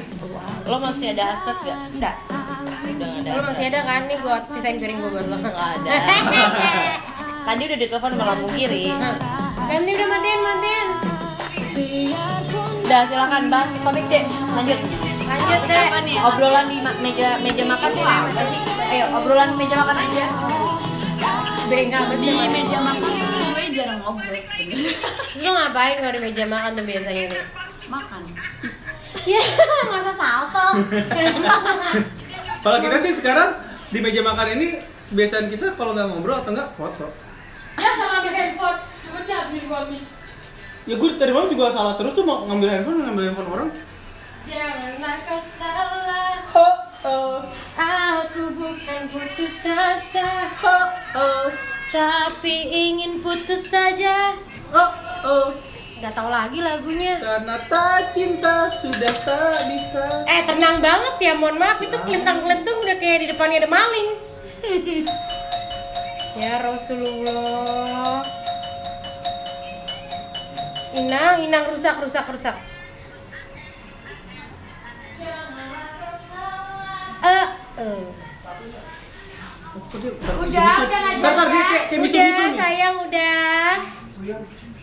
[SPEAKER 3] Lo masih ada hasrat nggak? Enggak. Udah nggak ada.
[SPEAKER 1] Lo masih ada kan nih gua sisain piring gua buat lo.
[SPEAKER 3] Nggak
[SPEAKER 1] [LAUGHS]
[SPEAKER 3] ada. Tadi udah ditelepon sama lampu kiri.
[SPEAKER 1] Kan ini udah matiin matiin.
[SPEAKER 3] Udah silakan bahas topik deh. Lanjut.
[SPEAKER 1] Lanjut deh.
[SPEAKER 3] Obrolan di ma- meja meja makan tuh apa sih? Ayo obrolan meja makan aja.
[SPEAKER 1] Bengkak
[SPEAKER 7] Di
[SPEAKER 1] betul.
[SPEAKER 7] meja makan tuh gue jarang ngobrol sebenarnya.
[SPEAKER 1] Terus lo ngapain kalau di meja makan tuh biasanya nih?
[SPEAKER 7] [LAUGHS] Makan.
[SPEAKER 4] Ya, [LAUGHS] masa salto.
[SPEAKER 6] Kalau kita sih sekarang di meja makan ini kebiasaan kita kalau nggak ngobrol atau nggak foto.
[SPEAKER 1] Ya sama ambil handphone. Cuma siap di kami.
[SPEAKER 6] Ya gue dari malam juga salah terus tuh mau ngambil handphone, ngambil handphone orang.
[SPEAKER 5] Janganlah kau salah
[SPEAKER 6] Ho, oh,
[SPEAKER 5] Aku bukan putus asa
[SPEAKER 6] ho, oh,
[SPEAKER 1] Tapi ingin putus saja.
[SPEAKER 6] ho, oh.
[SPEAKER 1] Gak tahu lagi lagunya.
[SPEAKER 6] Karena tak cinta sudah tak bisa.
[SPEAKER 1] Eh tenang banget ya, mohon maaf itu kelentang-kelentung udah kayak di depannya ada maling. [LAUGHS] ya Rasulullah. Inang, inang rusak, rusak, rusak. Eh, eh.
[SPEAKER 6] Udah, udah Ntar ntar dia kayak kayak misu-misu
[SPEAKER 1] eh. Udah
[SPEAKER 6] nih.
[SPEAKER 1] sayang udah.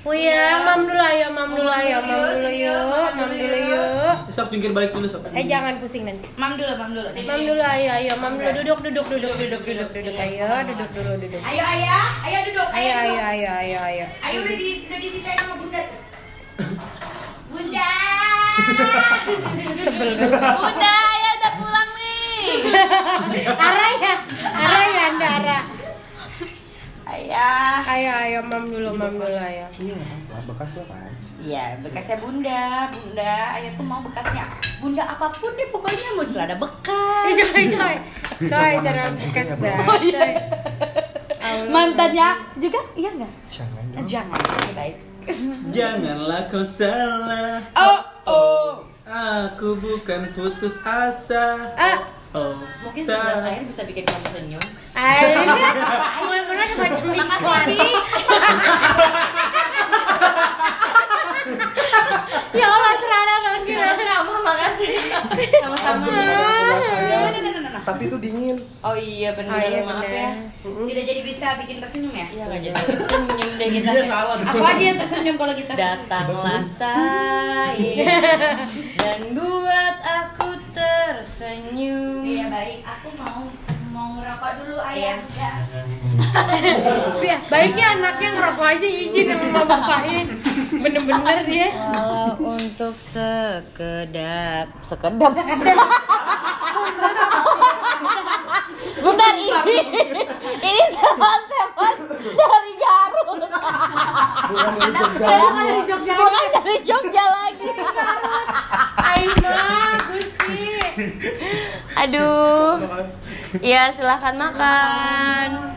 [SPEAKER 1] Uya, mam dulu ayo, mam dulu ayo, mam dulu yuk, mam dulu yuk.
[SPEAKER 6] Sob jungkir balik dulu sob.
[SPEAKER 1] Eh jangan pusing nanti.
[SPEAKER 4] Mam dulu, mam dulu.
[SPEAKER 1] Mam dulu ayo ayo mam dulu duduk duduk duduk duduk duduk duduk
[SPEAKER 7] Iya,
[SPEAKER 1] ayo duduk dulu duduk.
[SPEAKER 5] Ayo ayah, ayo duduk,
[SPEAKER 1] Ayo ayo ayo ayo ayo.
[SPEAKER 5] Ayo udah di udah diceritain sama bunda tuh. Bunda,
[SPEAKER 1] Sebel banget.
[SPEAKER 7] Bunda, ya udah pulang nih.
[SPEAKER 1] Ara ya. Ara ya Anda Ara.
[SPEAKER 7] Ayah.
[SPEAKER 1] Ayo ayo mam dulu mam dulu ayo.
[SPEAKER 7] Iya, bekasnya bunda, bunda, ayah tuh mau bekasnya bunda apapun deh pokoknya mau jelada
[SPEAKER 1] Ih,
[SPEAKER 7] bekas.
[SPEAKER 1] Eh,
[SPEAKER 7] Oh, iya.
[SPEAKER 1] Coy
[SPEAKER 7] [LAUGHS]
[SPEAKER 1] coy. Coy cara bekas banget. coy. Allah.
[SPEAKER 7] Mantannya juga iya nggak?
[SPEAKER 8] Jangan
[SPEAKER 7] Eh, Jangan, oke, baik.
[SPEAKER 6] Janganlah kau salah.
[SPEAKER 7] Oh, oh.
[SPEAKER 6] Aku bukan putus asa.
[SPEAKER 1] Ah,
[SPEAKER 6] Oh,
[SPEAKER 3] Mungkin
[SPEAKER 6] tak-
[SPEAKER 3] sebelas air bisa bikin kamu senyum.
[SPEAKER 1] ayo. Mulai-mulai ada macam iklan. Ya Allah serana banget gimana.
[SPEAKER 4] Kenapa? Makasih. Sama-sama.
[SPEAKER 8] Tapi itu dingin.
[SPEAKER 3] Oh iya benar.
[SPEAKER 1] Oh iya
[SPEAKER 3] maaf ya.
[SPEAKER 1] benar.
[SPEAKER 4] Tidak jadi bisa bikin tersenyum ya?
[SPEAKER 3] Iya nggak jadi senyum deh kita.
[SPEAKER 2] Dia salah.
[SPEAKER 4] Aku aja yang tersenyum kalau kita.
[SPEAKER 3] Datanglah saya
[SPEAKER 4] [LAUGHS]
[SPEAKER 3] dan buat aku tersenyum.
[SPEAKER 4] Iya baik, aku mau mau ngerokok dulu ayah. Ya.
[SPEAKER 1] Ya, baiknya anaknya ngerokok aja izin sama bapaknya. Bener-bener dia.
[SPEAKER 3] Kalau untuk sekedap sekedap Bentar ini ini sewan-sewan dari Garut
[SPEAKER 8] Bukan dari Jogja.
[SPEAKER 1] Kan dari Jogja.
[SPEAKER 3] bukan dari Jogja lagi.
[SPEAKER 1] Aima, Gusti.
[SPEAKER 3] Aduh. Ya, silahkan makan.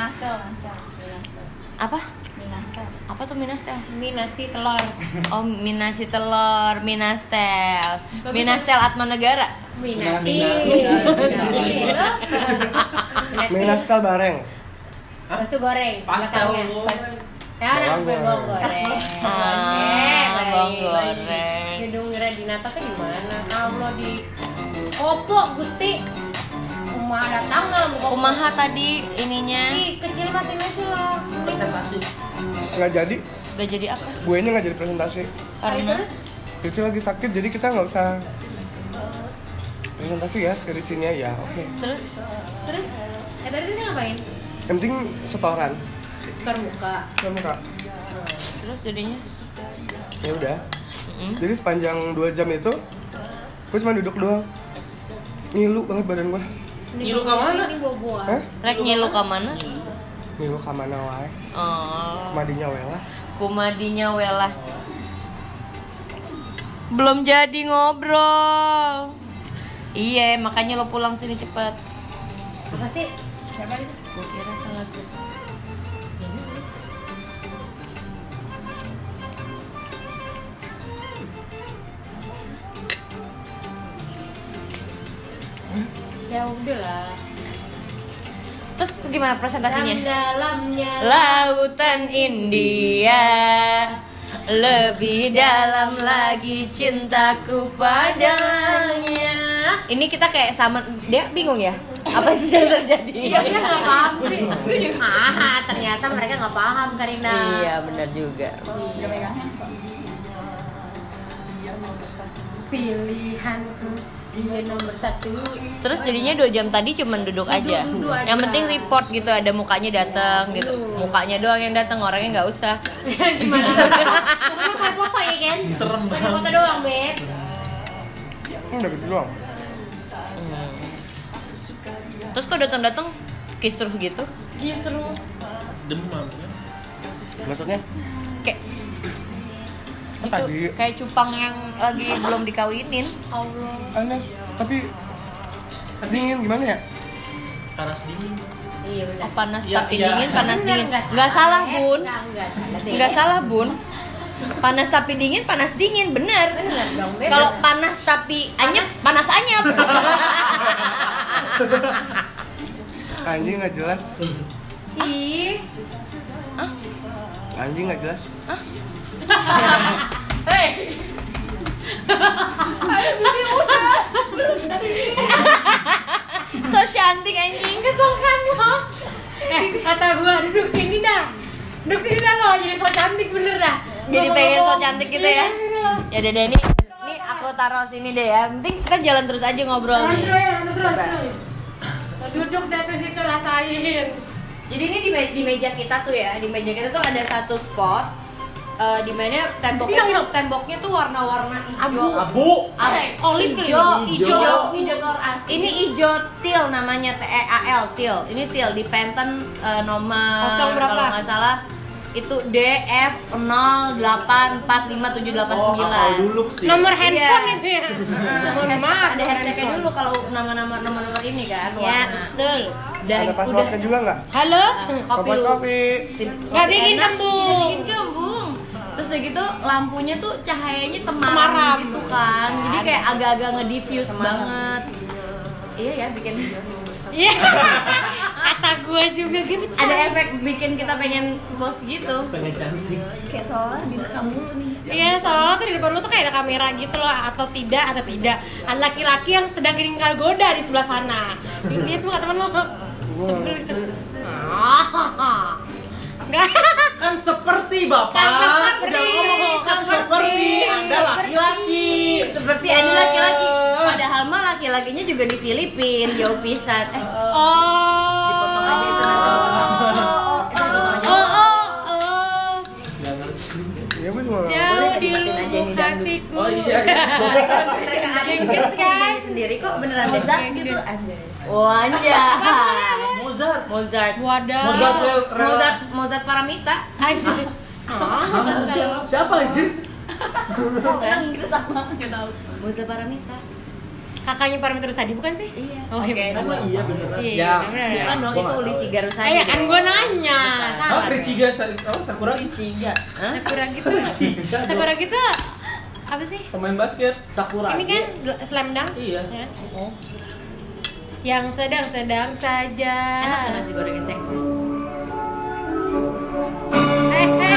[SPEAKER 5] Nastel, nastel, mie nastel,
[SPEAKER 3] Apa?
[SPEAKER 5] mie nastel.
[SPEAKER 3] Apa tuh minastel?
[SPEAKER 1] mie nasi telur
[SPEAKER 3] Oh, minasi telur, minastel. Minastel Atmanegara.
[SPEAKER 1] mie nasi
[SPEAKER 8] Mie Mie nastel bareng.
[SPEAKER 1] Pastu goreng
[SPEAKER 2] Pastel.
[SPEAKER 1] belakangnya. Pas- ya anak gue bawang goreng Eh,
[SPEAKER 3] Ah,
[SPEAKER 1] baik.
[SPEAKER 3] bawang goreng.
[SPEAKER 1] Gedung Radinata tuh di mana? Allah di Kopo Gusti. Rumah datang nggak mau Kopo?
[SPEAKER 3] Kumaha tadi ininya
[SPEAKER 1] Ih, kecil mati sih lah.
[SPEAKER 2] Presentasi.
[SPEAKER 8] Nggak jadi,
[SPEAKER 3] udah jadi apa?
[SPEAKER 8] gue ini nggak jadi presentasi.
[SPEAKER 3] Karena
[SPEAKER 8] Cici lagi sakit, jadi kita nggak usah presentasi ya, si Ricinya ya. Oke.
[SPEAKER 3] terus
[SPEAKER 1] Terus eh tadi dia ngapain?
[SPEAKER 8] Yang penting setoran.
[SPEAKER 1] Setor muka.
[SPEAKER 8] Kamu kak.
[SPEAKER 3] terus jadinya
[SPEAKER 8] Ya udah.
[SPEAKER 3] Mm-mm.
[SPEAKER 8] Jadi sepanjang 2 jam itu, gue cuma duduk doang. Ngilu banget badan gue.
[SPEAKER 2] Ngilu ke mana?
[SPEAKER 1] Ini buah-buah.
[SPEAKER 8] Hah?
[SPEAKER 3] rek nyilu ke mana?
[SPEAKER 8] Ngilu ke mana wae?
[SPEAKER 3] Oh,
[SPEAKER 8] Madinya wela.
[SPEAKER 3] kumadinya welah. Belum jadi ngobrol. Iya, makanya lo pulang sini cepet.
[SPEAKER 1] Apa sih? Siapa itu?
[SPEAKER 3] Gue kira salah gue.
[SPEAKER 1] Ya udah lah.
[SPEAKER 3] Terus gimana presentasinya?
[SPEAKER 1] Dalamnya.
[SPEAKER 3] Lautan India lebih dalam lagi cintaku padanya. Ah, Ini kita kayak sama dia bingung ya. Apa sih yang terjadi?
[SPEAKER 1] Iya, dia nggak paham sih. Gue juga. Ah, ternyata mereka nggak paham Karina.
[SPEAKER 3] Iya, benar juga.
[SPEAKER 7] Udah pegang handphone.
[SPEAKER 1] Pilihanku dia nomor satu.
[SPEAKER 3] Terus jadinya dua jam tadi cuman duduk aja.
[SPEAKER 1] Duduk-duduk aja.
[SPEAKER 3] Yang penting report gitu ada mukanya datang gitu. Mukanya doang yang datang, orangnya nggak usah.
[SPEAKER 1] Iya, Gimana? Lu cuma foto ya kan?
[SPEAKER 2] Serem
[SPEAKER 1] Cuma
[SPEAKER 2] banget.
[SPEAKER 1] foto doang, Bet.
[SPEAKER 8] Hmm, udah gitu doang.
[SPEAKER 3] Hmm. Terus kok datang-datang kisruh gitu?
[SPEAKER 2] Demam ya.
[SPEAKER 8] Maksudnya?
[SPEAKER 3] Kayak itu
[SPEAKER 8] Tadi.
[SPEAKER 3] kayak cupang yang lagi belum dikawinin.
[SPEAKER 8] Aneh, tapi dingin gimana ya?
[SPEAKER 2] Panas dingin.
[SPEAKER 1] Iya benar.
[SPEAKER 3] Oh, panas
[SPEAKER 2] Iya,
[SPEAKER 3] tapi
[SPEAKER 2] iya.
[SPEAKER 3] dingin, panas
[SPEAKER 1] Bener,
[SPEAKER 3] dingin. Nggak salah,
[SPEAKER 1] eh,
[SPEAKER 3] Bun.
[SPEAKER 1] Nggak nggak salah deh.
[SPEAKER 3] Nggak salah, Bun. Panas tapi dingin, panas dingin, bener.
[SPEAKER 1] Bener dong, Bet.
[SPEAKER 3] Kalau panas tapi anyep, panas
[SPEAKER 1] [LAUGHS]
[SPEAKER 3] anyep.
[SPEAKER 8] Anjing nggak jelas.
[SPEAKER 1] Ih.
[SPEAKER 8] Anjing nggak jelas.
[SPEAKER 1] Hei.
[SPEAKER 3] so cantik anjing.
[SPEAKER 1] Kesel kan lo? Eh kata gua duduk sini dah. Duduk sini dah lo jadi so cantik bener dah. Iya. Gua
[SPEAKER 3] jadi
[SPEAKER 1] mau
[SPEAKER 3] pengen so
[SPEAKER 1] ngomong.
[SPEAKER 3] cantik gitu ya ya deh deh ini ini aku taruh sini deh ya penting kita jalan terus aja ngobrol
[SPEAKER 1] Jalan
[SPEAKER 3] nih
[SPEAKER 1] terus, jalan terus, terus. Duduk dah ke situ rasain.
[SPEAKER 3] jadi ini di, me- di meja kita tuh ya di meja kita tuh ada satu spot eh di mana temboknya
[SPEAKER 1] Bilang, bilang.
[SPEAKER 3] temboknya tuh warna-warna
[SPEAKER 1] Abu.
[SPEAKER 3] hijau
[SPEAKER 2] Abu.
[SPEAKER 3] Ah,
[SPEAKER 1] Olive kali
[SPEAKER 3] hijau hijau
[SPEAKER 1] hijau telur asin.
[SPEAKER 3] ini hijau til namanya T E A L til ini til di Penten eh, nomor
[SPEAKER 1] Kosong berapa?
[SPEAKER 3] kalau nggak salah itu DF 0845789
[SPEAKER 2] Oh, akal dulu sih.
[SPEAKER 1] nomor
[SPEAKER 3] Iya.
[SPEAKER 1] handphone itu ya. Mohon
[SPEAKER 3] Hashtag-
[SPEAKER 1] maaf,
[SPEAKER 3] ada
[SPEAKER 1] nomor
[SPEAKER 3] hashtagnya
[SPEAKER 1] handphone.
[SPEAKER 3] dulu kalau nama-nama nomor-nomor ini kan
[SPEAKER 1] Ya,
[SPEAKER 3] warna.
[SPEAKER 1] betul.
[SPEAKER 3] Dan
[SPEAKER 8] Ada passwordnya juga nggak?
[SPEAKER 1] Halo?
[SPEAKER 3] kopi
[SPEAKER 8] Sobat
[SPEAKER 3] lu.
[SPEAKER 8] kopi.
[SPEAKER 1] Nggak bikin
[SPEAKER 3] Enak,
[SPEAKER 1] kembung.
[SPEAKER 3] nggak bikin kembung. Terus udah gitu lampunya tuh cahayanya temaram,
[SPEAKER 1] Temaram.
[SPEAKER 3] gitu kan. Jadi kayak agak-agak ngedifuse banget. Iya ya [LAUGHS] bikin
[SPEAKER 1] Iya. [LAUGHS] Kata gue juga gitu.
[SPEAKER 3] ada efek bikin kita pengen post gitu.
[SPEAKER 2] Pengen cantik.
[SPEAKER 7] Kayak soalnya di kamu nih.
[SPEAKER 1] Iya, soalnya tuh di depan lu tuh kayak ada kamera gitu loh atau tidak atau tidak. Ada laki-laki yang sedang diringkal goda di sebelah sana. Lihat tuh teman lu. Sebel gitu. Ah. Enggak.
[SPEAKER 2] Kan seperti bapak.
[SPEAKER 3] Kan
[SPEAKER 2] Udah ngomong kan seperti. Anda laki-laki.
[SPEAKER 3] Seperti ada laki-laki. Padahal mah laki-lakinya juga di Filipina, jauh pisan. Eh,
[SPEAKER 1] Oh.
[SPEAKER 3] dipotong aja itu nanti.
[SPEAKER 1] Oh, oh, oh.
[SPEAKER 2] Nggak ngerti.
[SPEAKER 8] Iya gue juga. nggak
[SPEAKER 1] Jauh
[SPEAKER 3] Boleh
[SPEAKER 8] ngerti.
[SPEAKER 1] di
[SPEAKER 3] dimatiin aja ini
[SPEAKER 1] lubuk
[SPEAKER 3] dangdut.
[SPEAKER 1] hatiku.
[SPEAKER 2] Oh iya.
[SPEAKER 1] Jengkit kan?
[SPEAKER 3] sendiri kok beneran Mozart gitu
[SPEAKER 7] anjay.
[SPEAKER 3] wanja
[SPEAKER 2] Mozart.
[SPEAKER 3] Mozart
[SPEAKER 1] Wadah.
[SPEAKER 2] Mozart rel rel.
[SPEAKER 3] Mozart Mozart Paramita
[SPEAKER 1] Asli. Ah, kesel.
[SPEAKER 2] Siapa anjir?
[SPEAKER 7] Kok kan gitu sama nggak tahu.
[SPEAKER 3] Mozart Paramita
[SPEAKER 1] kakaknya Paramitri Rusadi bukan sih?
[SPEAKER 3] Iya.
[SPEAKER 1] Oh iya.
[SPEAKER 2] Emang iya beneran.
[SPEAKER 1] Iya,
[SPEAKER 2] Ya.
[SPEAKER 1] beneran.
[SPEAKER 2] Ya,
[SPEAKER 3] Bukan dong
[SPEAKER 2] gua
[SPEAKER 3] itu
[SPEAKER 2] nggak
[SPEAKER 3] Ulisi
[SPEAKER 2] tahu.
[SPEAKER 3] Garusadi.
[SPEAKER 1] Ayah kan gue nanya,
[SPEAKER 2] Oh,
[SPEAKER 3] Ah.
[SPEAKER 1] salah.
[SPEAKER 2] Triciga, Sari- oh, Sakura
[SPEAKER 3] Ciga. Hah?
[SPEAKER 1] Sakura gitu. Sakura gitu apa sih?
[SPEAKER 2] pemain basket Sakura.
[SPEAKER 1] Ini kan slam dunk.
[SPEAKER 2] Iya.
[SPEAKER 1] Ya kan? Yang sedang-sedang saja.
[SPEAKER 3] Enak nggak nasi goreng esek?
[SPEAKER 1] Eh, eh.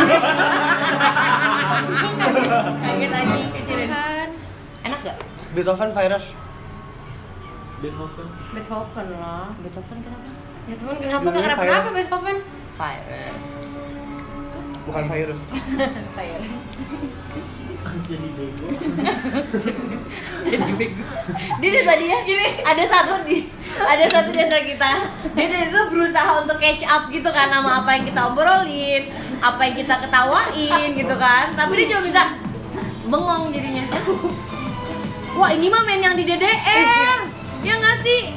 [SPEAKER 7] Kaget lagi kecilin.
[SPEAKER 1] Bukan.
[SPEAKER 3] Enak gak?
[SPEAKER 8] Beethoven virus.
[SPEAKER 2] Beethoven.
[SPEAKER 1] Beethoven lah.
[SPEAKER 3] Beethoven kenapa?
[SPEAKER 1] Beethoven kenapa
[SPEAKER 8] Judulnya
[SPEAKER 1] nggak kenapa
[SPEAKER 8] Fire.
[SPEAKER 1] kenapa Beethoven?
[SPEAKER 3] Virus.
[SPEAKER 8] Bukan virus.
[SPEAKER 2] Jadi bego.
[SPEAKER 3] Dia dari tadi ya gini. Ada satu di ada satu di antara kita. Dia dari itu berusaha untuk catch up gitu kan sama apa yang kita obrolin, apa yang kita ketawain gitu kan. Tapi dia cuma bisa bengong jadinya. Wah ini mah main yang di DDR. Ya nggak sih?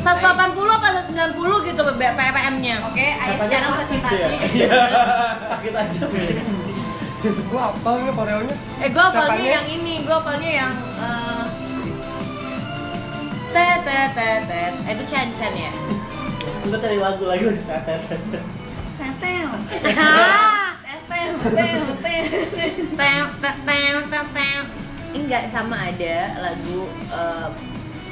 [SPEAKER 3] 180 apa 190 gitu BPM-nya.
[SPEAKER 7] Oke, ayah
[SPEAKER 2] Katanya
[SPEAKER 7] sekarang
[SPEAKER 2] sakit ya.
[SPEAKER 7] presentasi.
[SPEAKER 2] Iya. Sakit aja, Bel.
[SPEAKER 8] [LAUGHS] Gua apal nih koreonya.
[SPEAKER 3] Eh gue apalnya
[SPEAKER 8] Siapanya?
[SPEAKER 3] yang ini, gue apalnya yang eh, tet tet tet tet. Eh, itu Chan Chan ya.
[SPEAKER 2] Gua cari lagu lagi.
[SPEAKER 7] Tetel.
[SPEAKER 3] Ah,
[SPEAKER 7] Tetel. Tetel.
[SPEAKER 3] tem tem tem tem tem. Ini nggak sama ada lagu eh,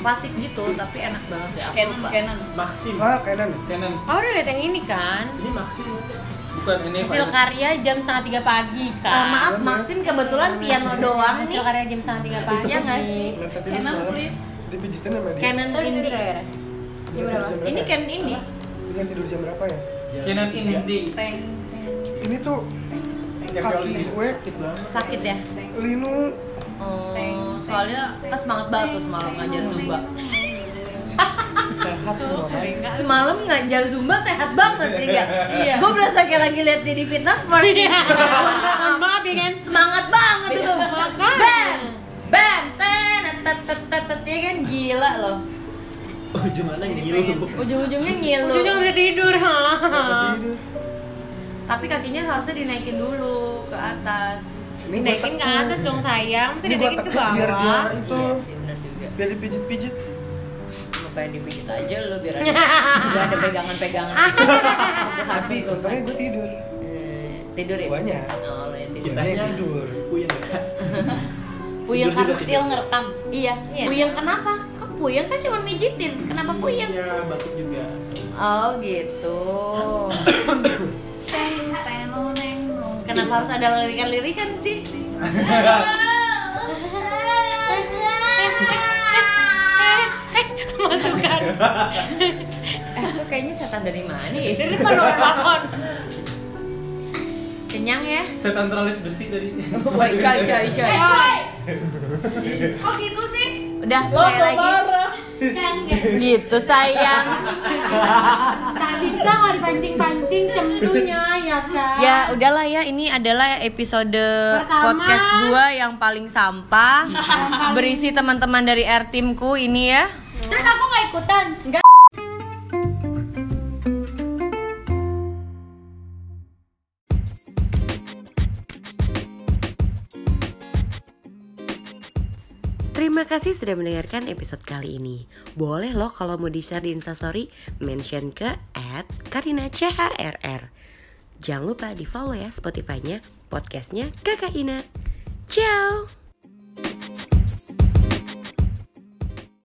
[SPEAKER 3] klasik gitu, tapi enak banget ya. Aku
[SPEAKER 7] Canon,
[SPEAKER 3] lupa.
[SPEAKER 7] Canon.
[SPEAKER 2] Maxim.
[SPEAKER 8] Ah, kanan.
[SPEAKER 2] Canon.
[SPEAKER 1] Oh udah liat yang ini kan.
[SPEAKER 2] Ini Maxim bukan? bukan ini
[SPEAKER 1] Hasil
[SPEAKER 2] Virus.
[SPEAKER 1] karya jam setengah tiga pagi kan.
[SPEAKER 3] Eh, maaf, Maxim kebetulan piano doang
[SPEAKER 1] Hasil
[SPEAKER 3] nih.
[SPEAKER 1] karya jam setengah tiga pagi.
[SPEAKER 3] Iya nggak sih?
[SPEAKER 8] Lengset ini
[SPEAKER 7] Canon,
[SPEAKER 8] malam.
[SPEAKER 7] please.
[SPEAKER 8] Dipijitin sama dia.
[SPEAKER 3] Canon
[SPEAKER 1] Oh, ini
[SPEAKER 3] ini.
[SPEAKER 1] tidur ya?
[SPEAKER 8] Bisa tidur jam berapa?
[SPEAKER 3] Ini Canon ini.
[SPEAKER 8] Bisa tidur jam berapa ya?
[SPEAKER 2] Canon Indie.
[SPEAKER 7] Teng.
[SPEAKER 8] Ini tuh kaki gue
[SPEAKER 2] Sakit banget.
[SPEAKER 3] Sakit ya.
[SPEAKER 8] linu
[SPEAKER 3] Oh, soalnya pas semangat banget tuh semalam ngajar zumba.
[SPEAKER 8] [LAUGHS] sehat sih makanya.
[SPEAKER 3] Semalam ngajar Zumba sehat banget ya gak? Iya. Gue berasa kayak lagi liat dia di fitness first.
[SPEAKER 1] Mohon maaf ya kan.
[SPEAKER 3] Semangat banget itu.
[SPEAKER 1] Makanya.
[SPEAKER 3] Bam, bam, ten, tet, tet, tet, tet, ya kan gila loh.
[SPEAKER 2] Oh, gimana ngilu.
[SPEAKER 3] Ujung-ujungnya ngilu.
[SPEAKER 1] Jujur nggak bisa tidur. ha.
[SPEAKER 8] Bisa tidur.
[SPEAKER 3] Tapi kakinya harusnya dinaikin dulu ke atas.
[SPEAKER 8] Ini gua
[SPEAKER 1] Dinaikin ke
[SPEAKER 8] tekuk.
[SPEAKER 1] atas dong sayang. Mesti
[SPEAKER 8] Ini gua
[SPEAKER 1] dinaikin ke
[SPEAKER 8] tekuk biar dia
[SPEAKER 1] bawah.
[SPEAKER 8] itu
[SPEAKER 3] Iya sih bener juga.
[SPEAKER 8] biar dipijit-pijit.
[SPEAKER 3] Ngapain dipijit aja lo [LAUGHS] biar ada, biar ada [LAUGHS] pegangan-pegangan.
[SPEAKER 8] Tapi untungnya gue tidur.
[SPEAKER 3] Hmm, tidur ya?
[SPEAKER 8] Guanya.
[SPEAKER 3] Oh, lo yang tidur.
[SPEAKER 8] Guanya Iya, yang tidur.
[SPEAKER 2] Puyeng ya.
[SPEAKER 3] Puyeng
[SPEAKER 2] Iya. Tidur juga
[SPEAKER 3] karena-
[SPEAKER 4] Still ngerekam.
[SPEAKER 3] Iya,
[SPEAKER 1] Iya.
[SPEAKER 3] puyeng kenapa? Kan puyeng kan cuma mijitin, kenapa puyeng?
[SPEAKER 2] Iya, batuk juga.
[SPEAKER 3] Oh gitu.
[SPEAKER 7] Teng. Tenong, nenong.
[SPEAKER 3] Kenapa harus ada lirikan-lirikan sih?
[SPEAKER 1] Masukan.
[SPEAKER 3] Eh, itu kayaknya setan dari mana
[SPEAKER 1] Di
[SPEAKER 3] ya?
[SPEAKER 1] depan orang balkon.
[SPEAKER 3] Kenyang ya?
[SPEAKER 2] Setan teralis besi tadi.
[SPEAKER 3] Coy, coy, coy, coy.
[SPEAKER 2] [LAUGHS]
[SPEAKER 7] Kok gitu sih?
[SPEAKER 3] Udah, saya lagi. Gitu sayang.
[SPEAKER 1] Tak bisa nggak dipancing-pancing centunya ya kan.
[SPEAKER 3] Ya udahlah ya, ini adalah episode
[SPEAKER 1] Pertama.
[SPEAKER 3] podcast gua yang paling sampah Berisi teman-teman dari R timku ini ya
[SPEAKER 7] Terus aku nggak ikutan.
[SPEAKER 9] Terima kasih sudah mendengarkan episode kali ini. Boleh loh kalau mau di-share di Instastory, mention ke at Karina CHRR. Jangan lupa di-follow ya Spotify-nya, podcastnya Kakak Ina. Ciao!